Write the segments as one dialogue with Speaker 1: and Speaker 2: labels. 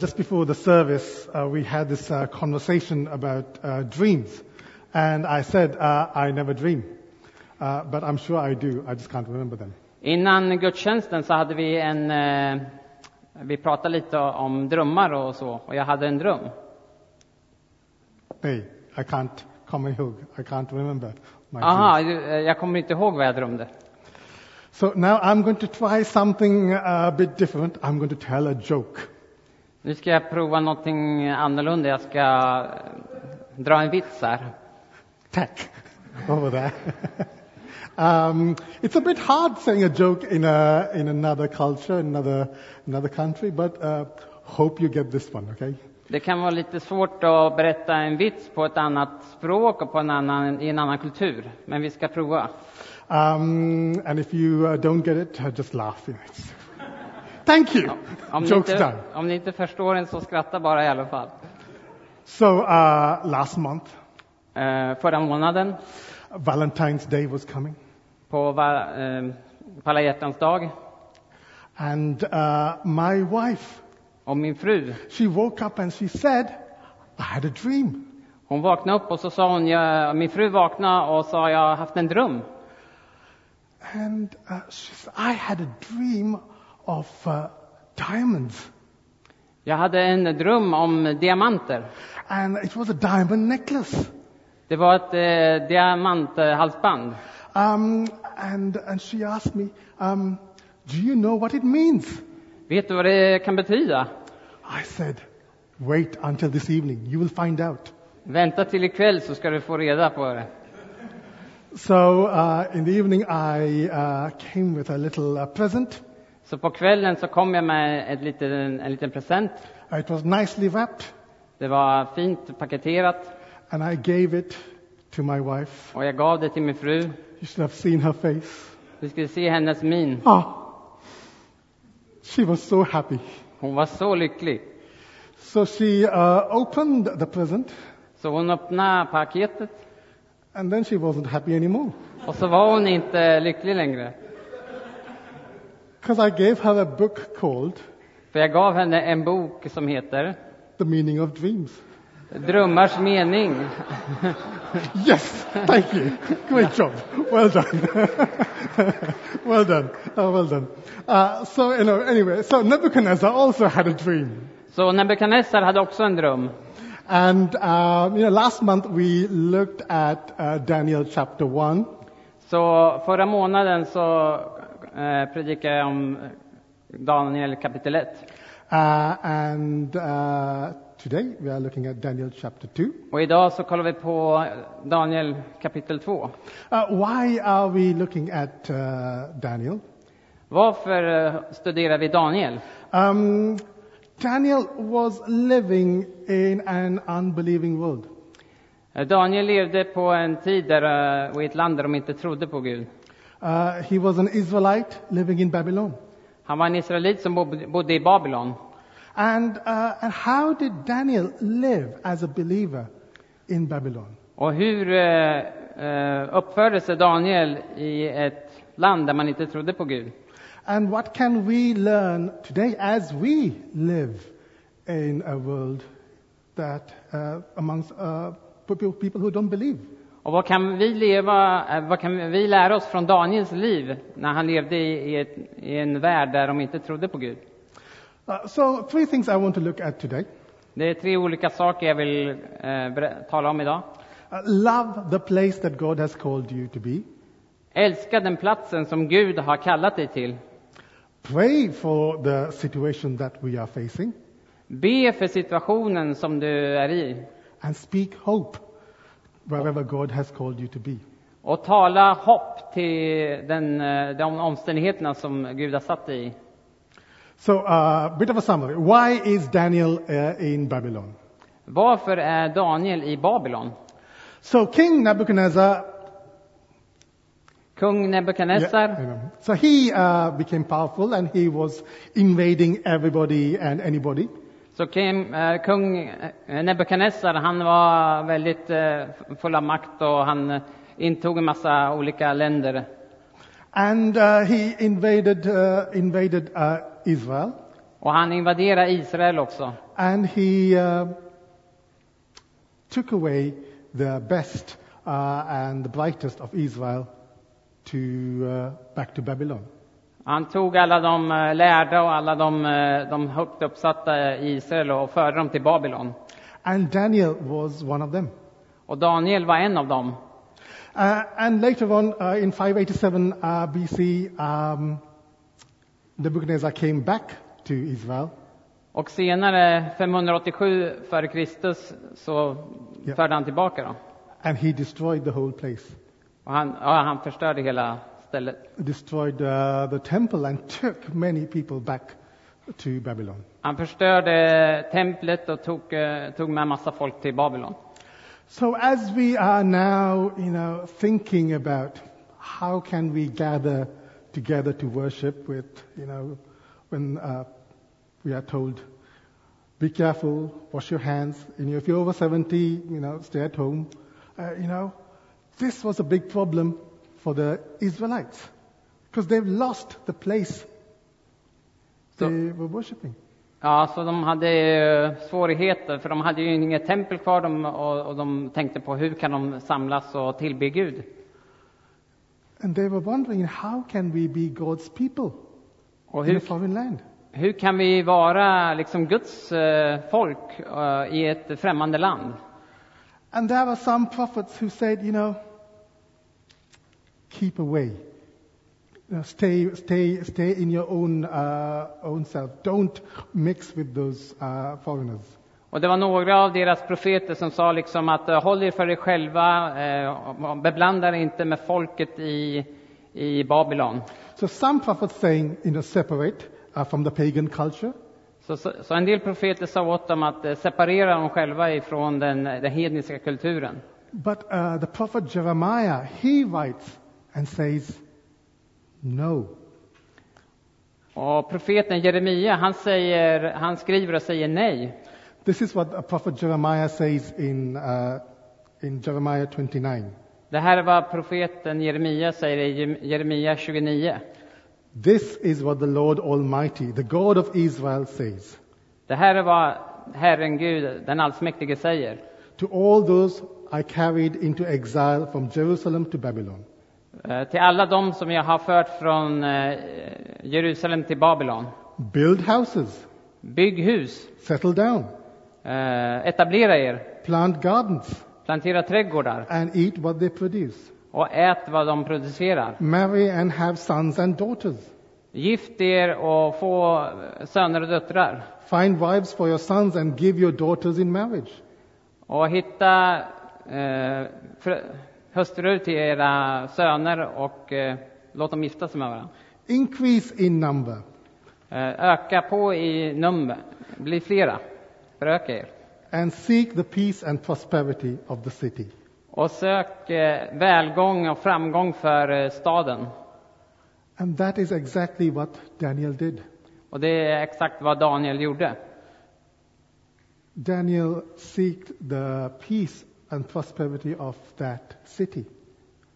Speaker 1: just before the service, uh, we had this uh, conversation about uh, dreams. And I said, uh, I never dream. Uh, but I'm sure I do. I just can't remember them.
Speaker 2: Innan gudstjänsten så hade vi en... Eh, vi pratade lite om drömmar och så, och jag hade en dröm.
Speaker 1: Nej, I can't come ihåg. I can't remember my dreams.
Speaker 2: Aha, ju- eh, jag kommer inte ihåg vad jag drömde.
Speaker 1: So now I'm going to try something uh, a bit different. I'm going to tell a joke.
Speaker 2: Nu ska jag prova någonting annorlunda. Jag ska eh, dra en vits här.
Speaker 1: Tack. Over there. um, it's a bit hard saying a joke in a in another culture, another another country, but uh, hope you get this one. Okay.
Speaker 2: Det kan vara lite svårt att berätta en vits på ett annat språk och på en annan, i en annan kultur, men vi ska prova.
Speaker 1: Um, and if you uh, don't get it, uh, just laugh. You know, it's- Thank you.
Speaker 2: Om ni,
Speaker 1: Joke's
Speaker 2: inte,
Speaker 1: done.
Speaker 2: om ni inte förstår den så skratta bara i alla fall.
Speaker 1: So uh, last month,
Speaker 2: Eh, förra månaden,
Speaker 1: Valentine's Day was coming,
Speaker 2: på va, eh, Palla hjärtans dag,
Speaker 1: and uh, my wife
Speaker 2: och min fru,
Speaker 1: she woke up and she said, "I had a dream."
Speaker 2: hon vaknade upp och så sa hon, jag, min fru vaknade och sa jag har haft en dröm.
Speaker 1: And uh, she said, I had a dream of uh, diamonds.
Speaker 2: Jag hade en dröm om diamanter.
Speaker 1: And it was a diamond necklace.
Speaker 2: Det var ett eh, diamanthalsband.
Speaker 1: Um, and, and she asked me, um, Do you know what it means?
Speaker 2: Vet du vad det kan betyda?
Speaker 1: I said, Wait until this evening. You will find out.
Speaker 2: Vänta till ikväll så ska du få reda på det.
Speaker 1: So uh, in the evening, I uh, came with a little uh, present.
Speaker 2: Så på kvällen så kom jag med ett liten, en liten present.
Speaker 1: It was nicely wrapped.
Speaker 2: Det var fint paketerat
Speaker 1: And I gave it to my wife.
Speaker 2: och jag gav det till min fru.
Speaker 1: You should have seen her face.
Speaker 2: Du skulle se hennes min.
Speaker 1: Ah, she was so happy.
Speaker 2: Hon var så lycklig.
Speaker 1: So she uh, opened the present,
Speaker 2: Så hon öppnade paketet
Speaker 1: and then she wasn't happy anymore
Speaker 2: och så var hon inte lycklig längre.
Speaker 1: because I gave her a book called
Speaker 2: För jag gav henne en bok som heter
Speaker 1: The Meaning of Dreams.
Speaker 2: Drömmars mening.
Speaker 1: Yes, thank you. Great job. Well done. well done. Uh, well done. Uh, so, you know, anyway, so Nebuchadnezzar also had a dream.
Speaker 2: Så Nebukadnessar hade också en dröm.
Speaker 1: And, uh, you know, last month we looked at uh, Daniel chapter 1.
Speaker 2: Så förra månaden så eh, predikade jag om Daniel kapitel 1.
Speaker 1: Uh, and uh, today we are looking at Daniel chapter 2.
Speaker 2: Och idag så kollar vi på Daniel kapitel 2.
Speaker 1: Uh, why are we looking at uh, Daniel?
Speaker 2: Varför eh, studerar vi Daniel?
Speaker 1: Um, Daniel was living in an unbelieving world.
Speaker 2: Eh, Daniel levde på en tid där, eh, och i ett land där de inte trodde på Gud.
Speaker 1: Uh, he was an Israelite living in Babylon.
Speaker 2: Han var en israelit som bo- bodde i Babylon.
Speaker 1: And, uh, and how did Daniel live as a believer in Babylon?
Speaker 2: Och hur eh, eh, uppförde sig Daniel i ett land där man inte trodde på Gud?
Speaker 1: And what can we learn today as we live in a world that uh, amongst uh, people people who don't believe?
Speaker 2: Och vad kan vi, leva, eh, vad kan vi lära oss från Daniels liv när han levde i, i, ett, i en värld där de inte trodde på Gud?
Speaker 1: Uh, so, three things I want to look at today.
Speaker 2: Det är tre olika saker jag vill eh, berä- tala om idag.
Speaker 1: Uh, love the place that God has called you to be.
Speaker 2: Älska den platsen som Gud har kallat dig till.
Speaker 1: Pray for the situation that we are facing.
Speaker 2: Be för situationen som du är i
Speaker 1: And speak hope wherever God has called you to be.
Speaker 2: och tala hopp till den, eh, de omständigheterna som Gud har satt dig i.
Speaker 1: So, a uh, bit of a summary. Why is Daniel uh, in Babylon?
Speaker 2: Varför är Daniel i Babylon?
Speaker 1: So, King Nebuchadnezzar.
Speaker 2: Kung Nebukadnessar,
Speaker 1: I know. so, he uh, became powerful and he was invading everybody and anybody.
Speaker 2: så kim, eh, kung eh, Nebukadnessar, han var väldigt eh, full av makt och han eh, intog en massa olika länder.
Speaker 1: And uh, he invaded, uh, invaded uh, Israel.
Speaker 2: Och han invaderade Israel också.
Speaker 1: and he uh, took away the best uh, and the brightest of Israel to uh, back to Babylon.
Speaker 2: Han tog alla de eh, lärda och alla de, eh, de högt uppsatta i Israel och förde dem till Babylon.
Speaker 1: And Daniel was one of them.
Speaker 2: Och Daniel var en av dem.
Speaker 1: Uh, and later on, uh, in 587 uh, BC, um, Nebuchadnezzar came back to Israel
Speaker 2: Och senare, 587 före Kristus, så
Speaker 1: Ja.
Speaker 2: förde han tillbaka dem.
Speaker 1: and he destroyed the whole place,
Speaker 2: Och han, ja, han förstörde hela stället.
Speaker 1: destroyed uh, the temple, and took many people back to Babylon.
Speaker 2: Han förstörde templet och tog, eh, tog med massa folk till Babylon.
Speaker 1: So as we are now, you know, thinking about how can we gather together to worship with, you know, when uh, we are told, be careful, wash your hands. You know, if you're over 70, you know, stay at home. Uh, you know, this was a big problem for the Israelites because they've lost the place
Speaker 2: So-
Speaker 1: they were worshiping.
Speaker 2: Ja, så de hade eh, svårigheter, för de hade ju inget tempel kvar de, och, och de tänkte på hur kan de samlas och tillbe Gud?
Speaker 1: And they were wondering, how can we be God's people
Speaker 2: Och
Speaker 1: in a
Speaker 2: hur,
Speaker 1: foreign land?
Speaker 2: hur kan vi vara liksom Guds eh, folk eh, i ett främmande land?
Speaker 1: And there were some prophets who said, you know, keep away. You know, stay, stay, stay in your own, uh, own self. Don't mix with those uh, foreigners.
Speaker 2: Och det var några av deras profeter som sa liksom att eh, håll er för er själva, eh, och beblanda er inte med folket i, i Babylon.
Speaker 1: So some prophets saying, you know, separate uh, from the pagan culture.
Speaker 2: Så, så, så en del profeter sa åt dem att eh, separera dem själva ifrån den, den hedniska kulturen.
Speaker 1: But uh, the prophet Jeremiah, he writes and says, no.
Speaker 2: Och profeten Jeremia, han, säger, han skriver och säger nej.
Speaker 1: This is what the prophet Jeremiah says in, uh, in Jeremiah 29.
Speaker 2: Det här är vad profeten Jeremia säger i Jem- Jeremia 29.
Speaker 1: This is what the Lord Almighty, the God of Israel, says
Speaker 2: Det här är vad Herren Gud, den allsmäktige, säger.
Speaker 1: to all those I carried into exile from Jerusalem to Babylon.
Speaker 2: Eh, Till alla dem som jag har fört från eh, Jerusalem till Babylon.
Speaker 1: Build houses,
Speaker 2: Bygg hus,
Speaker 1: settle down,
Speaker 2: eh, etablera er,
Speaker 1: plant gardens,
Speaker 2: plantera trädgårdar
Speaker 1: and eat what they produce.
Speaker 2: och ät vad de producerar.
Speaker 1: Marry and have sons and daughters.
Speaker 2: Gift er och få eh, söner och döttrar.
Speaker 1: Find wives for your sons and give your daughters in marriage.
Speaker 2: Och hitta eh, frö- hustrur till era söner och eh, låt dem gifta sig med varandra.
Speaker 1: Increase in number.
Speaker 2: Eh, öka på i nummer, bli flera, föröka er.
Speaker 1: And seek the peace and prosperity of the city.
Speaker 2: Och sök eh, välgång och framgång för eh, staden.
Speaker 1: And that is exactly what Daniel did.
Speaker 2: Och det är exakt vad Daniel gjorde.
Speaker 1: Daniel seeked the peace and prosperity of that city.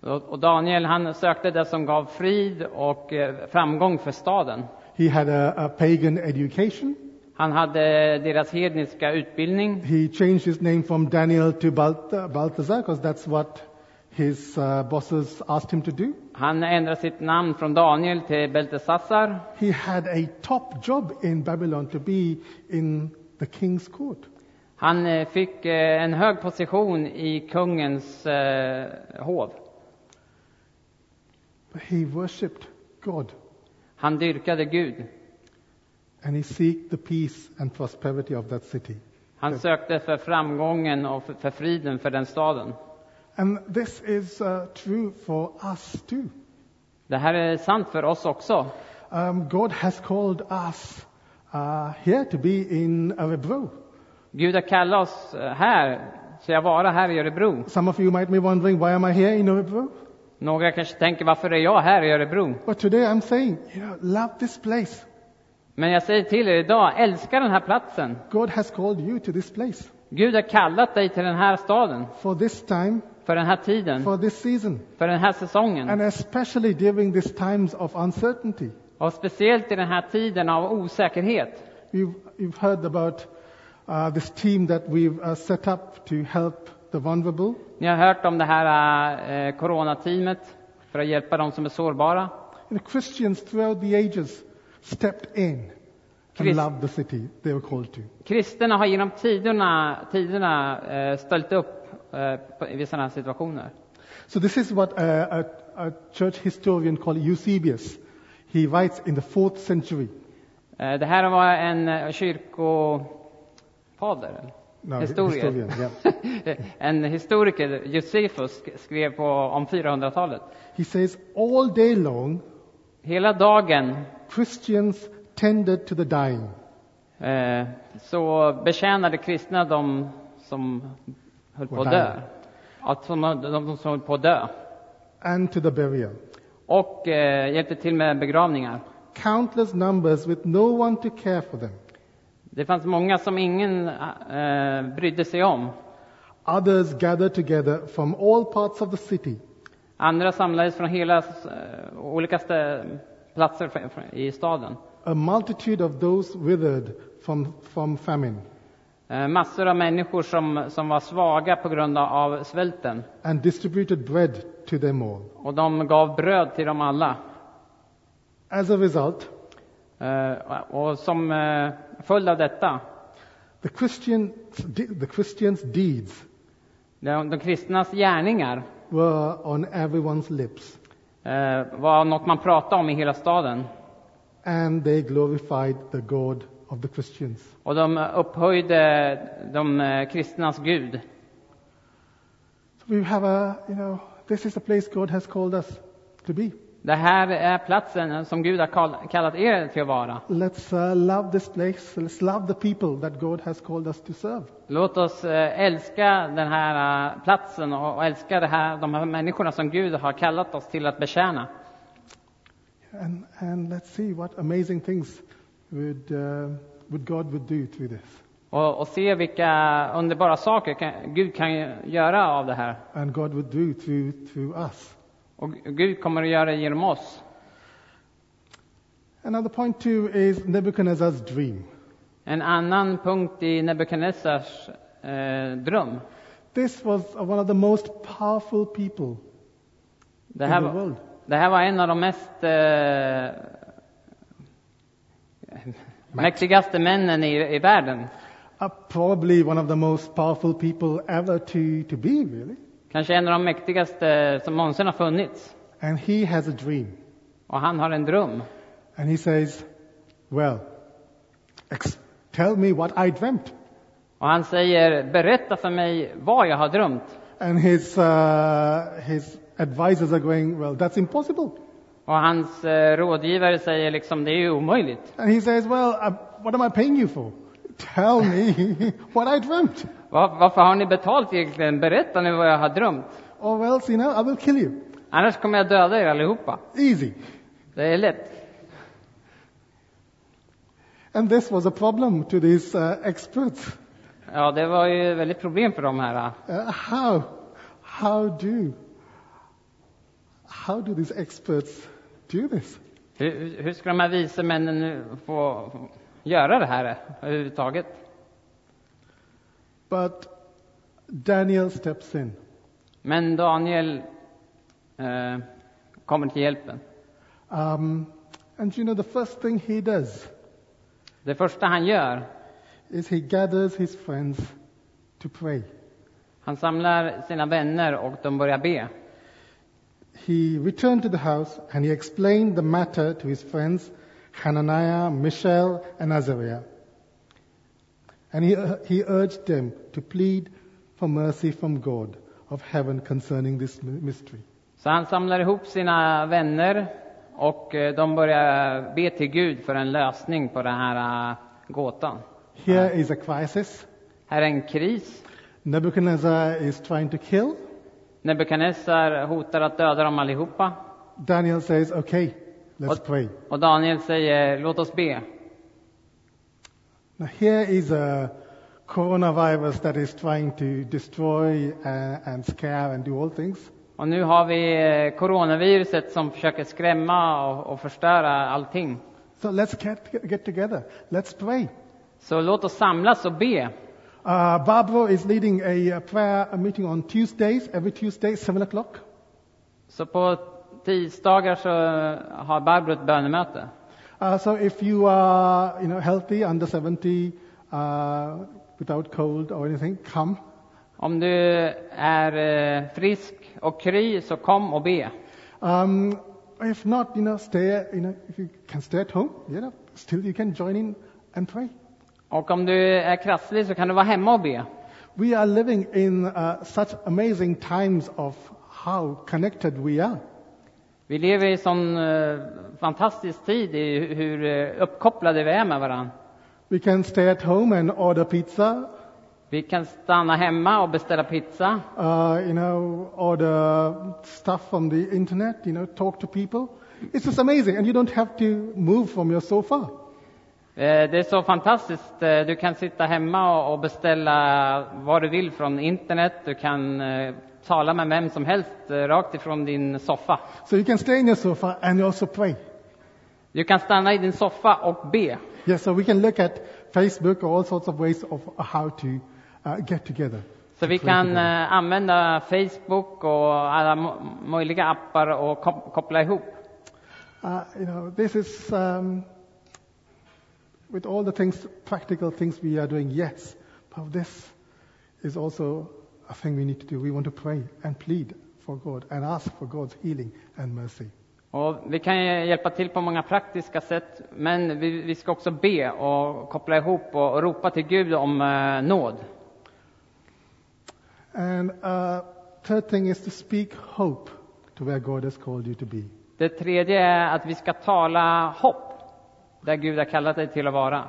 Speaker 2: Och och Daniel han sökte det som gav frid och eh, framgång för staden.
Speaker 1: He had a, a pagan education.
Speaker 2: Han hade deras hedniska utbildning.
Speaker 1: He changed his name from Daniel to Balt- Balthazar because that's what his uh, bosses asked him to do.
Speaker 2: Han ändrade sitt namn från Daniel till Beltesassar.
Speaker 1: He had a top job in Babylon to be in the king's court.
Speaker 2: Han eh, fick eh, en hög position i kungens eh, hov.
Speaker 1: But he worshipped God
Speaker 2: Han dyrkade Gud.
Speaker 1: and he seeked the peace and prosperity of that city.
Speaker 2: Han sökte för framgången och för- för friden för den staden.
Speaker 1: And this is uh, true for us too.
Speaker 2: Det här är sant för oss också.
Speaker 1: Um, God has called us uh, here to be in Örebro.
Speaker 2: Gud har kallat oss eh, här, så jag vara här i Örebro.
Speaker 1: Some of you might be wondering, why am I here in Örebro?
Speaker 2: Några kanske tänker, varför är jag här i Örebro?
Speaker 1: But today I'm saying, you know, love this place.
Speaker 2: Men jag säger till er idag, älska den här platsen.
Speaker 1: God has called you to this place
Speaker 2: Gud har kallat dig till den här staden,
Speaker 1: for this time,
Speaker 2: för den här tiden,
Speaker 1: for this season,
Speaker 2: för den här säsongen.
Speaker 1: and especially during these times of uncertainty.
Speaker 2: Och speciellt i den här tiden av osäkerhet.
Speaker 1: You've, you've heard about uh, this team that we've uh, set up to help the vulnerable.
Speaker 2: Ni har hört om det här eh, coronateamet för att hjälpa de som är sårbara.
Speaker 1: You know, Christians throughout the ages stepped in and
Speaker 2: Chris-
Speaker 1: loved the city they were called to.
Speaker 2: Kristerna har genom tiderna, tiderna eh, ställt upp eh, på- vid sådana här situationer.
Speaker 1: So this is what a, a, a church historian called Eusebius. He writes in the fourth century.
Speaker 2: Eh, Det här var en eh, kyrkofader, eller?
Speaker 1: No,
Speaker 2: Historier.
Speaker 1: historian. Yeah.
Speaker 2: en historiker, Josefus, sk- skrev på om 400-talet.
Speaker 1: he says all day long
Speaker 2: Hela dagen
Speaker 1: Christians tended to the dying.
Speaker 2: eh, så betjänade kristna de som höll på att dö. Att som, de, de som höll på att dö.
Speaker 1: and to the burial.
Speaker 2: Och eh, hjälpte till med begravningar.
Speaker 1: Countless numbers with no one to care for them.
Speaker 2: Det fanns många som ingen eh, brydde sig om.
Speaker 1: Others gathered together from all parts of the city
Speaker 2: Andra samlades från hela eh, olika stä- platser fr- fr- i staden.
Speaker 1: a multitude of those withered from, from famine,
Speaker 2: Eh, Massor av människor som, som var svaga på grund av svälten.
Speaker 1: and distributed bread to them all.
Speaker 2: Och de gav bröd till dem alla.
Speaker 1: As a result,
Speaker 2: Eh, Och som eh, följd av detta,
Speaker 1: the Christians, the Christians' deeds
Speaker 2: de, de kristnas gärningar
Speaker 1: were on everyone's lips,
Speaker 2: eh, var något man pratade om i hela staden.
Speaker 1: and they glorified the God of the Christians.
Speaker 2: Och de upphöjde de eh, kristnas Gud.
Speaker 1: So we have a, you know, this is the place God has called us to be.
Speaker 2: Det här är platsen som Gud har kall- kallat er till att vara.
Speaker 1: Let's uh, love this place. Let's love the people that God has called us to serve.
Speaker 2: Låt oss eh, älska den här eh, platsen och och älska det här, de här människorna som Gud har kallat oss till att betjäna.
Speaker 1: And, and let's see what amazing things would, uh, would God would do through this.
Speaker 2: Och, och se vilka underbara saker kan, Gud kan ju göra av det här.
Speaker 1: And God would do through, through us.
Speaker 2: Och Gud kommer att göra det genom oss.
Speaker 1: Another point too is Nebuchadnezzar's dream.
Speaker 2: En annan punkt i Nebukadnessars eh, dröm.
Speaker 1: This was one of the most powerful people
Speaker 2: Det
Speaker 1: in
Speaker 2: här,
Speaker 1: the
Speaker 2: var-
Speaker 1: world.
Speaker 2: det här var en av de mest eh, mäktigaste männen i, i världen.
Speaker 1: Uh, probably one of the most powerful people ever to, to be, really.
Speaker 2: Kanske en av de mäktigaste som någonsin har funnits.
Speaker 1: And he has a dream.
Speaker 2: Och han har en dröm.
Speaker 1: And he says, Well, ex- tell me what I dreamt.
Speaker 2: Och han säger, berätta för mig vad jag har drömt.
Speaker 1: And his, uh, his advisors are going, well, that's impossible.
Speaker 2: Och hans eh, rådgivare säger liksom, det är ju omöjligt.
Speaker 1: And he says, well, uh, what am I paying you for? Tell me what I dreamt.
Speaker 2: Var, varför har ni betalt egentligen? Berätta nu vad jag har drömt.
Speaker 1: Or else, you know, I will kill you.
Speaker 2: Annars kommer jag döda er allihopa.
Speaker 1: Easy.
Speaker 2: Det är lätt.
Speaker 1: And this was a problem to these uh, experts.
Speaker 2: Ja, det var ju ett väldigt problem för de här. eh.
Speaker 1: Uh, how, how do, how do these experts do this?
Speaker 2: Hur, hur ska de här vise männen nu få få göra det här eh, överhuvudtaget?
Speaker 1: But Daniel steps in.
Speaker 2: Men Daniel eh, kommer till hjälpen.
Speaker 1: Um, and you know, the first thing he does
Speaker 2: Det första han gör,
Speaker 1: is he gathers his friends to pray.
Speaker 2: han samlar sina vänner och de börjar be.
Speaker 1: He returned to the house and he explained the matter to his friends Hananiah, Mishael, and Azariah. And he, he urged them to plead for mercy from God of heaven concerning this my- mystery.
Speaker 2: Så han samlar ihop sina vänner och eh, de börjar be till Gud för en lösning på den här eh, gåtan.
Speaker 1: Here is a crisis.
Speaker 2: Här är en kris.
Speaker 1: Nebuchadnezzar is trying to kill.
Speaker 2: Nebukadnessar hotar att döda dem allihopa.
Speaker 1: Daniel says, okay, let's
Speaker 2: What?
Speaker 1: pray.
Speaker 2: Och Daniel säger, låt oss be.
Speaker 1: Now here is a coronavirus that is trying to destroy uh, and scare and do all things.
Speaker 2: Och nu har vi eh, coronaviruset som försöker skrämma och, och förstöra allting.
Speaker 1: So let's get, get together. Let's pray.
Speaker 2: Så låt oss samlas och be.
Speaker 1: Uh, Barbara is leading a uh, prayer meeting on Tuesdays, every Tuesday, 7 o'clock.
Speaker 2: Så på tisdagar så eh, har Barbro ett bönemöte.
Speaker 1: Uh, so if you are, you know, healthy, under 70, uh, without cold or anything, come.
Speaker 2: Om du är eh, frisk och kry så kom och be.
Speaker 1: Um, if not, you know, stay, you know, if you can stay at home, you know, still you can join in and pray.
Speaker 2: Och om du är krasslig så kan du vara hemma och be.
Speaker 1: We are living in uh, such amazing times of how connected we are.
Speaker 2: Vi lever i en sån eh, fantastisk tid i hu- hur eh, uppkopplade vi är med varandra.
Speaker 1: We can stay at home and order pizza,
Speaker 2: Vi kan stanna hemma och beställa pizza.
Speaker 1: uh, you know, order stuff from the internet, you know, talk to people. It's just amazing, and you don't have to move from your sofa.
Speaker 2: Eh, Det är så fantastiskt. Eh, Du kan sitta hemma och- och beställa vad du vill från internet. Du kan eh, tala med vem som helst eh, rakt ifrån din soffa.
Speaker 1: So you can stay in your sofa and also pray.
Speaker 2: Du kan stanna i din soffa och be.
Speaker 1: Yes, so we can look at Facebook or all sorts of ways of how to uh, get together.
Speaker 2: Så vi kan eh, använda Facebook och alla mo- möjliga appar och kop- koppla ihop.
Speaker 1: Uh, you know, this is um, with all the things, practical things we are doing. Yes, but this is also a thing we need to do. We want to pray and plead for God and ask for God's healing and mercy.
Speaker 2: Och vi kan ju hjälpa till på många praktiska sätt, men vi, vi ska också be och koppla ihop och, och ropa till Gud om eh, nåd.
Speaker 1: And uh, third thing is to speak hope to where God has called you to be.
Speaker 2: Det tredje är att vi ska tala hopp, där Gud har kallat dig till att vara.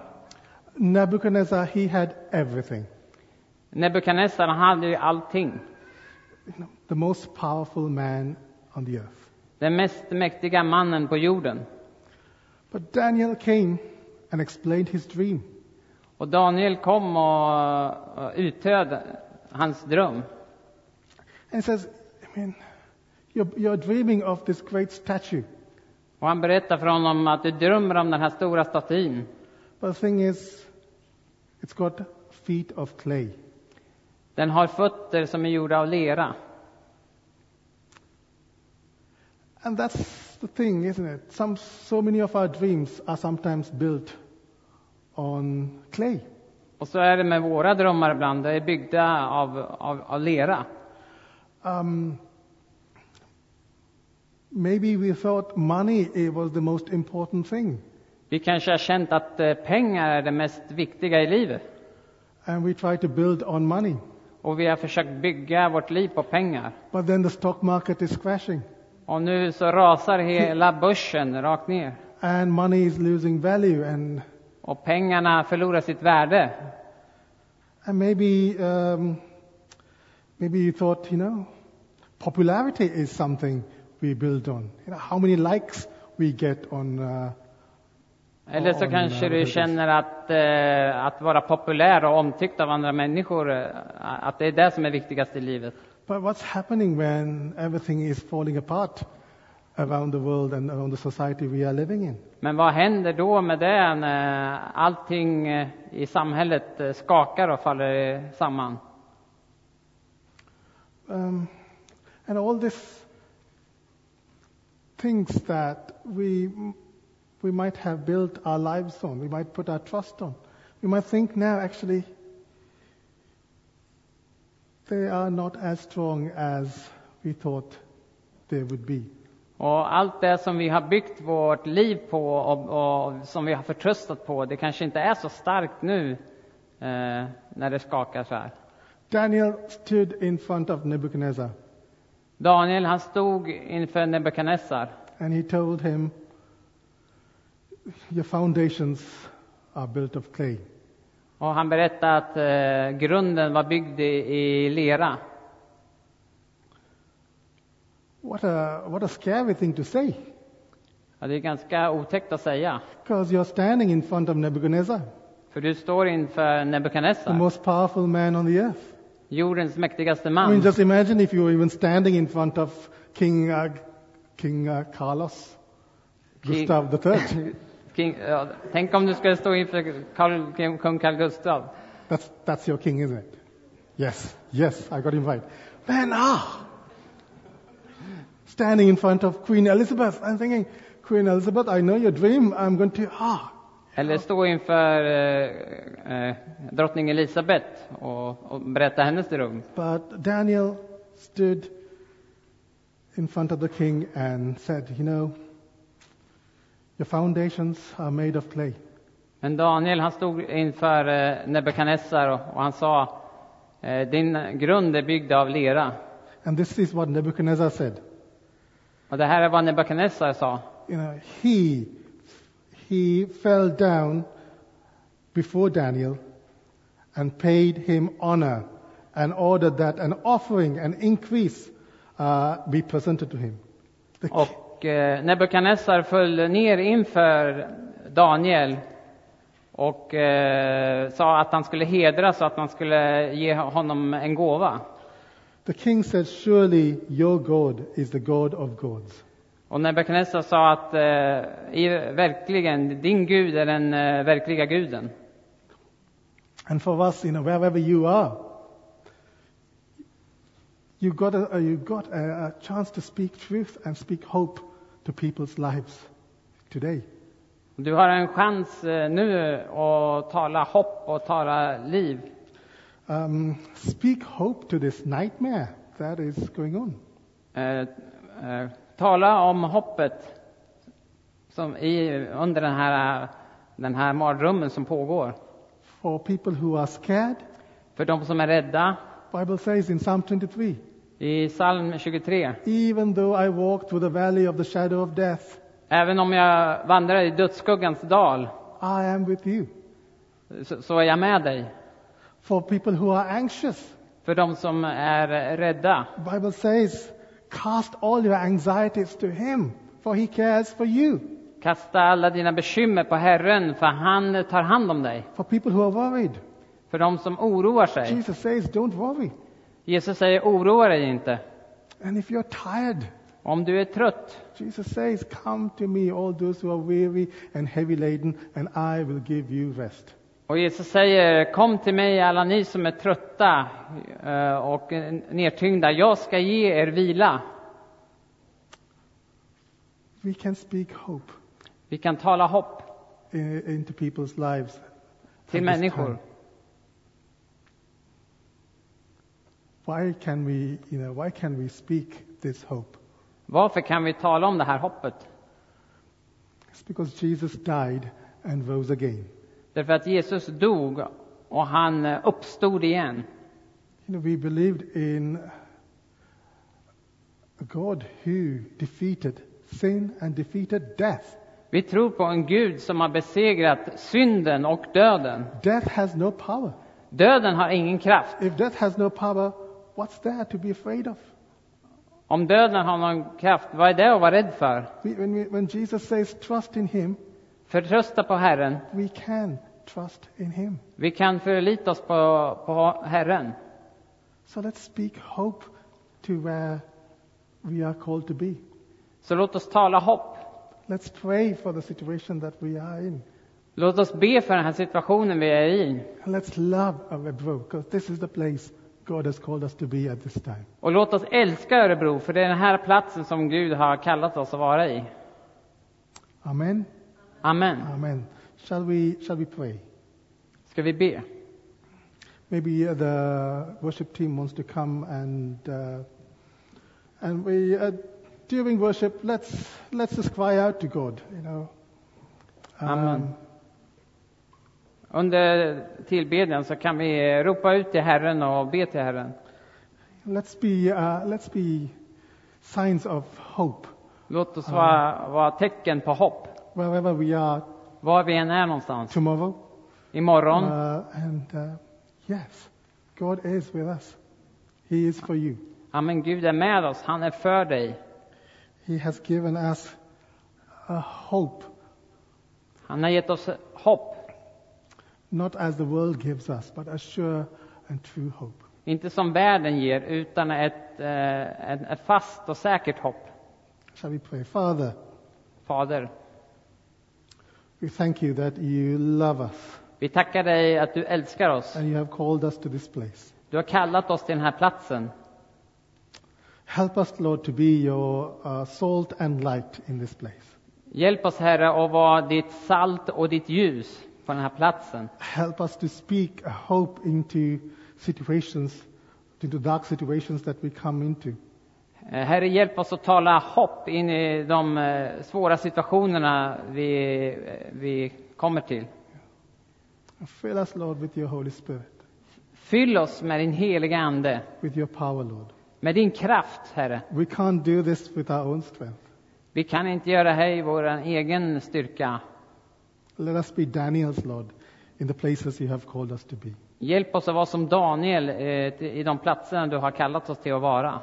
Speaker 1: Nebuchadnezzar, he had everything.
Speaker 2: Nebukadnessar, han hade ju allting.
Speaker 1: You know, the most powerful man on the earth.
Speaker 2: Den mest mäktiga mannen på jorden.
Speaker 1: But Daniel came and explained his dream.
Speaker 2: Och Daniel kom och, och utöd hans dröm.
Speaker 1: And he says, I mean, you're, you're dreaming of this great statue.
Speaker 2: Och han berättar för honom att du drömmer om den här stora statyn.
Speaker 1: But the thing is, it's got feet of clay.
Speaker 2: Den har fötter som är gjorda av lera.
Speaker 1: And that's the thing, isn't it? Some, so many of our dreams are sometimes built on clay.
Speaker 2: Och så är det med våra drömmar ibland, de är byggda av, av, av lera.
Speaker 1: Um, maybe we thought money it was the most important thing.
Speaker 2: Vi kanske har känt att eh, pengar är det mest viktiga i livet.
Speaker 1: And we try to build on money.
Speaker 2: Och vi har försökt bygga vårt liv på pengar.
Speaker 1: But then the stock market is crashing.
Speaker 2: Och nu så rasar hela börsen rakt ner.
Speaker 1: And money is losing value. And,
Speaker 2: Och pengarna förlorar sitt värde.
Speaker 1: and maybe, um, maybe you thought, you know, popularity is something we build on. You know, how many likes we get on. Uh,
Speaker 2: Eller så
Speaker 1: Ja,
Speaker 2: kanske
Speaker 1: men,
Speaker 2: du
Speaker 1: precis.
Speaker 2: känner att, eh, att vara populär och omtyckt av andra människor, eh, att det är det som är viktigast i livet.
Speaker 1: but what's happening when everything is falling apart around the world and around the society we are living in?
Speaker 2: Men vad händer då med det när allting eh, i samhället eh, skakar och faller eh, samman?
Speaker 1: um, and all this things that we we might have built our lives on, we might put our trust on, we might think now actually they are not as strong as we thought they would be.
Speaker 2: Och allt det som vi har byggt vårt liv på och, och som vi har förtröstat på, det kanske inte är så starkt nu eh, när det skakar så här.
Speaker 1: Daniel stood in front of Nebuchadnezzar
Speaker 2: Daniel, han stod inför Nebukadnessar
Speaker 1: and he told him, "Your foundations are built of clay."
Speaker 2: och han berättade att eh, grunden var byggd i, i lera.
Speaker 1: What a what a scary thing to say.
Speaker 2: Ja, det är ganska otäckt att säga,
Speaker 1: Because you're standing in front of Nebuchadnezzar,
Speaker 2: för du står inför
Speaker 1: the
Speaker 2: Nebukadnessar,
Speaker 1: most powerful man on the earth.
Speaker 2: jordens mäktigaste
Speaker 1: I mean,
Speaker 2: man.
Speaker 1: just imagine if you were even standing in front of King uh, King uh, Carlos
Speaker 2: King-
Speaker 1: Gustav III.
Speaker 2: King, ja, tänk om du skulle stå inför Karl, kung Carl Gustav.
Speaker 1: That's, that's your king, isn't it? Yes, yes, I got him right. Man, ah! Standing in front of Queen Elizabeth, I'm thinking, Queen Elizabeth, I know your dream. I'm going to, ah!
Speaker 2: Eller stå inför eh, eh, drottning Elisabet och, och berätta hennes dröm.
Speaker 1: But Daniel stood in front of the king and said, You know, your foundations are made of clay.
Speaker 2: Men Daniel han stod inför eh, Nebukadnessar och, och han sa eh, din grund är byggd av lera.
Speaker 1: And this is what Nebuchadnezzar said.
Speaker 2: Och det här är vad Nebukadnessar sa.
Speaker 1: You know, he, he fell down before Daniel and paid him honor and ordered that an offering, an increase, uh, be presented to him. The
Speaker 2: Och eh, Nebukadnessar föll ner inför Daniel och eh, sa att han skulle hedras och att man skulle ge honom en gåva.
Speaker 1: The king said, Surely your God is the God of gods.
Speaker 2: Och Nebukadnessar sa att eh, i, verkligen, din Gud är den eh, verkliga guden.
Speaker 1: And for us, you know, wherever you are, you got a, you got a, a chance to speak truth and speak hope to people's lives today.
Speaker 2: Du har en chans eh, nu att tala hopp och tala liv.
Speaker 1: Um, speak hope to this nightmare that is going on.
Speaker 2: Eh, eh, tala om hoppet som i, under den här, den här mardrömmen som pågår.
Speaker 1: For people who are scared,
Speaker 2: För de som är rädda,
Speaker 1: Bible says in Psalm 23,
Speaker 2: i psalm 23.
Speaker 1: even though I walk through the valley of the shadow of death,
Speaker 2: Även om jag vandrar i dödsskuggans dal,
Speaker 1: I am with you.
Speaker 2: så, så är jag med dig.
Speaker 1: For people who are anxious,
Speaker 2: För de som är rädda,
Speaker 1: Bible says, cast all your anxieties to him, for he cares for you.
Speaker 2: kasta alla dina bekymmer på Herren, för han tar hand om dig.
Speaker 1: For people who are worried,
Speaker 2: För de som oroar sig.
Speaker 1: Jesus says, don't worry.
Speaker 2: Jesus säger, oroa dig inte.
Speaker 1: And if you're tired,
Speaker 2: Om du är trött,
Speaker 1: Jesus says, come to me, all those who are weary and heavy laden, and I will give you rest.
Speaker 2: Och Jesus säger, kom till mig alla ni som är trötta eh, och nedtyngda, jag ska ge er vila.
Speaker 1: We can speak hope
Speaker 2: Vi kan tala hopp
Speaker 1: i- into people's lives. at
Speaker 2: till
Speaker 1: this
Speaker 2: människor.
Speaker 1: time. Why can we, you know, why can we speak this hope?
Speaker 2: Varför kan vi tala om det här hoppet?
Speaker 1: It's because Jesus died and rose again.
Speaker 2: Därför att Jesus dog och han eh, uppstod igen.
Speaker 1: You know, we believed in a God who defeated sin and defeated death.
Speaker 2: Vi tror på en Gud som har besegrat synden och döden.
Speaker 1: Death has no power.
Speaker 2: Döden har ingen kraft.
Speaker 1: If death has no power, what's there to be afraid of?
Speaker 2: Om döden har någon kraft, vad är det att vara rädd för?
Speaker 1: We, when, we, when Jesus says trust in Him,
Speaker 2: Förtrösta på Herren.
Speaker 1: we can trust in Him.
Speaker 2: Vi kan förlita oss på, på Herren.
Speaker 1: So let's speak hope to where we are called to be.
Speaker 2: Så låt oss tala hopp.
Speaker 1: Let's pray for the situation that we are in.
Speaker 2: Låt oss be för den här situationen vi är i.
Speaker 1: And let's love Örebro because this is the place God has called us to be at this time.
Speaker 2: Och låt oss älska Örebro, för det är den här platsen som Gud har kallat oss att vara i.
Speaker 1: Amen.
Speaker 2: Amen.
Speaker 1: Amen. Shall we, shall we pray?
Speaker 2: Ska vi be?
Speaker 1: Maybe uh, the worship team wants to come and uh, and we uh, during worship let's let's just cry out to God, you know. Um,
Speaker 2: Amen. Under tillbedjan så kan vi ropa ut till Herren och be till Herren.
Speaker 1: Let's be uh, let's be signs of hope
Speaker 2: Låt oss vara, vara tecken på hopp,
Speaker 1: wherever we are
Speaker 2: var vi än är någonstans.
Speaker 1: tomorrow.
Speaker 2: Imorgon.
Speaker 1: Uh, and uh, yes, God is with us. He is for you.
Speaker 2: Amen, Gud är med oss. Han är för dig.
Speaker 1: He has given us a hope,
Speaker 2: Han har gett oss hopp.
Speaker 1: not as the world gives us, but a sure and true hope.
Speaker 2: Inte som världen ger, utan ett, eh, ett, ett fast och säkert hopp.
Speaker 1: Shall we pray? Father,
Speaker 2: Fader,
Speaker 1: We thank you that you love us
Speaker 2: Vi tackar dig att du älskar oss.
Speaker 1: and you have called us to this place.
Speaker 2: Du har kallat oss till den här platsen.
Speaker 1: Help us, Lord, to be your uh, salt and light in this place.
Speaker 2: Hjälp oss Herre att vara ditt salt och ditt ljus på den här platsen.
Speaker 1: Help us to speak hope into situations, into dark situations that we come into.
Speaker 2: Eh, Herre, hjälp oss att tala hopp in i de eh, svåra situationerna vi, eh, vi kommer till.
Speaker 1: Fill us, Lord, with your Holy Spirit,
Speaker 2: Fyll oss med din heliga Ande,
Speaker 1: with your power, Lord.
Speaker 2: med din kraft, Herre.
Speaker 1: We can't do this with our own strength.
Speaker 2: Vi kan inte göra det i vår egen styrka.
Speaker 1: Let us be Daniels, Lord, in the places you have called us to be.
Speaker 2: Hjälp oss att vara som Daniel eh, i de platserna du har kallat oss till att vara.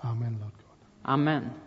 Speaker 1: Amen, Lord God.
Speaker 2: Amen.